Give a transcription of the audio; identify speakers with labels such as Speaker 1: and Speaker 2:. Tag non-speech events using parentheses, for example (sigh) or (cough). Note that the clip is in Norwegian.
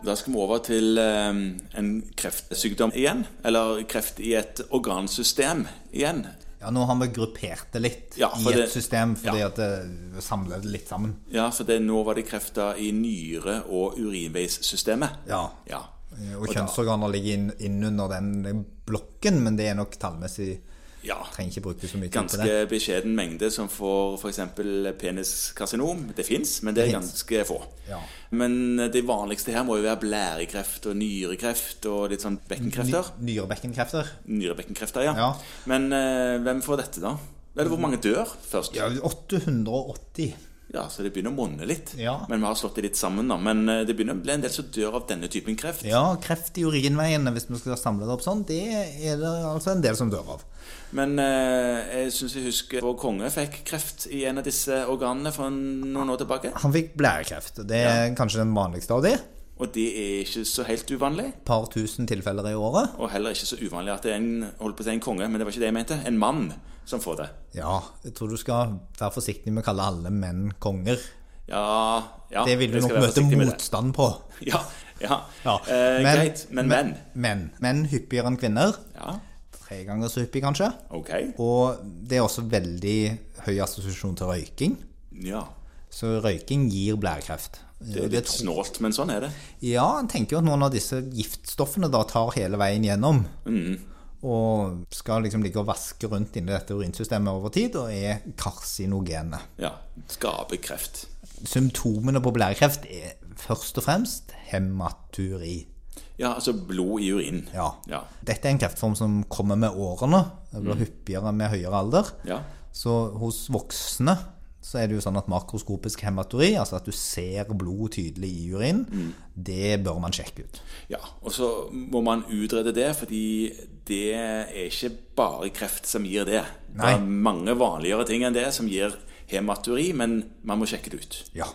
Speaker 1: Da skal vi over til eh, en kreftsykdom igjen. Eller kreft i et organsystem igjen.
Speaker 2: Ja, nå har vi gruppert det litt
Speaker 1: Ja, for
Speaker 2: i et
Speaker 1: det-
Speaker 2: system, fordi
Speaker 1: ja.
Speaker 2: at det samler det litt sammen.
Speaker 1: Ja, for det, nå var det krefter i nyre- og urinveissystemet.
Speaker 2: Ja.
Speaker 1: Ja.
Speaker 2: Og kjønnsorganer ligger inn, inn under den blokken, men det er nok tallmessig
Speaker 1: ja.
Speaker 2: Trenger ikke bruke så mye tid på det.
Speaker 1: Ganske beskjeden mengde som får f.eks. peniskarsinom. Det fins, men det er
Speaker 2: finnes.
Speaker 1: ganske få.
Speaker 2: Ja.
Speaker 1: Men eh, det vanligste her må jo være blærekreft og nyrekreft og litt sånn bekkenkrefter.
Speaker 2: Ny- Nyrebekkenkrefter.
Speaker 1: Nyrebekkenkrefter, ja.
Speaker 2: Ja.
Speaker 1: Men eh, hvem får dette, da? Eller hvor mange dør først?
Speaker 2: Ja, 880.
Speaker 1: Ja, så det begynner å monne litt.
Speaker 2: Ja.
Speaker 1: Men vi har slått det litt sammen, da. Men eh, det begynner å bli en del som dør av denne typen kreft.
Speaker 2: Ja, kreft i urinveiene, hvis vi skal samle det opp sånn, det er det altså en del som dør av.
Speaker 1: Men eh, jeg syns jeg husker vår konge fikk kreft i en av disse organene for noen år tilbake.
Speaker 2: Han fikk blærekreft. Det er kanskje den vanligste av de.
Speaker 1: Og det er ikke så helt uvanlig.
Speaker 2: Par tusen tilfeller i året.
Speaker 1: Og heller ikke så uvanlig at det er en, holdt på å si en konge, men det var ikke det jeg mente, en mann som får det.
Speaker 2: Ja, jeg tror du skal være forsiktig med å kalle alle menn konger.
Speaker 1: Ja, ja
Speaker 2: Det vil du
Speaker 1: jeg skal
Speaker 2: nok
Speaker 1: være
Speaker 2: møte
Speaker 1: forsiktig med det. (laughs)
Speaker 2: motstand på.
Speaker 1: Ja, ja.
Speaker 2: Ja,
Speaker 1: Eh,
Speaker 2: men-
Speaker 1: greit, men menn.
Speaker 2: Menn. Menn hyppigere enn kvinner.
Speaker 1: Ja,
Speaker 2: Tre ganger så hyppig, kanskje.
Speaker 1: ok.
Speaker 2: Og det er også veldig høy assosiasjon til røyking.
Speaker 1: Ja.
Speaker 2: Så røyking gir blærekreft.
Speaker 1: Det er litt snålt, men sånn er det.
Speaker 2: Ja, en tenker jo at noen av disse giftstoffene da tar hele veien gjennom.
Speaker 1: Mm.
Speaker 2: Og skal liksom ligge og vaske rundt inni dette urinsystemet over tid, og er karsinogene.
Speaker 1: Ja. Skaper kreft.
Speaker 2: Symptomene på blærekreft er først og fremst hematuri.
Speaker 1: Ja, altså blod i urin.
Speaker 2: Ja.
Speaker 1: Ja. Mm.
Speaker 2: Dette er en kreftform som kommer med årene. Det blir hyppigere med høyere alder.
Speaker 1: Ja.
Speaker 2: Så hos voksne så er det jo sånn at makroskopisk hematuri, altså at du ser blod tydelig i urinen,
Speaker 1: Mm.
Speaker 2: det bør man sjekke ut.
Speaker 1: Ja, og så må man utrede det, fordi det er ikke bare kreft som gir det.
Speaker 2: Nei.
Speaker 1: Det er mange vanligere ting enn det som gir hematuri, men man må sjekke det ut.
Speaker 2: Ja.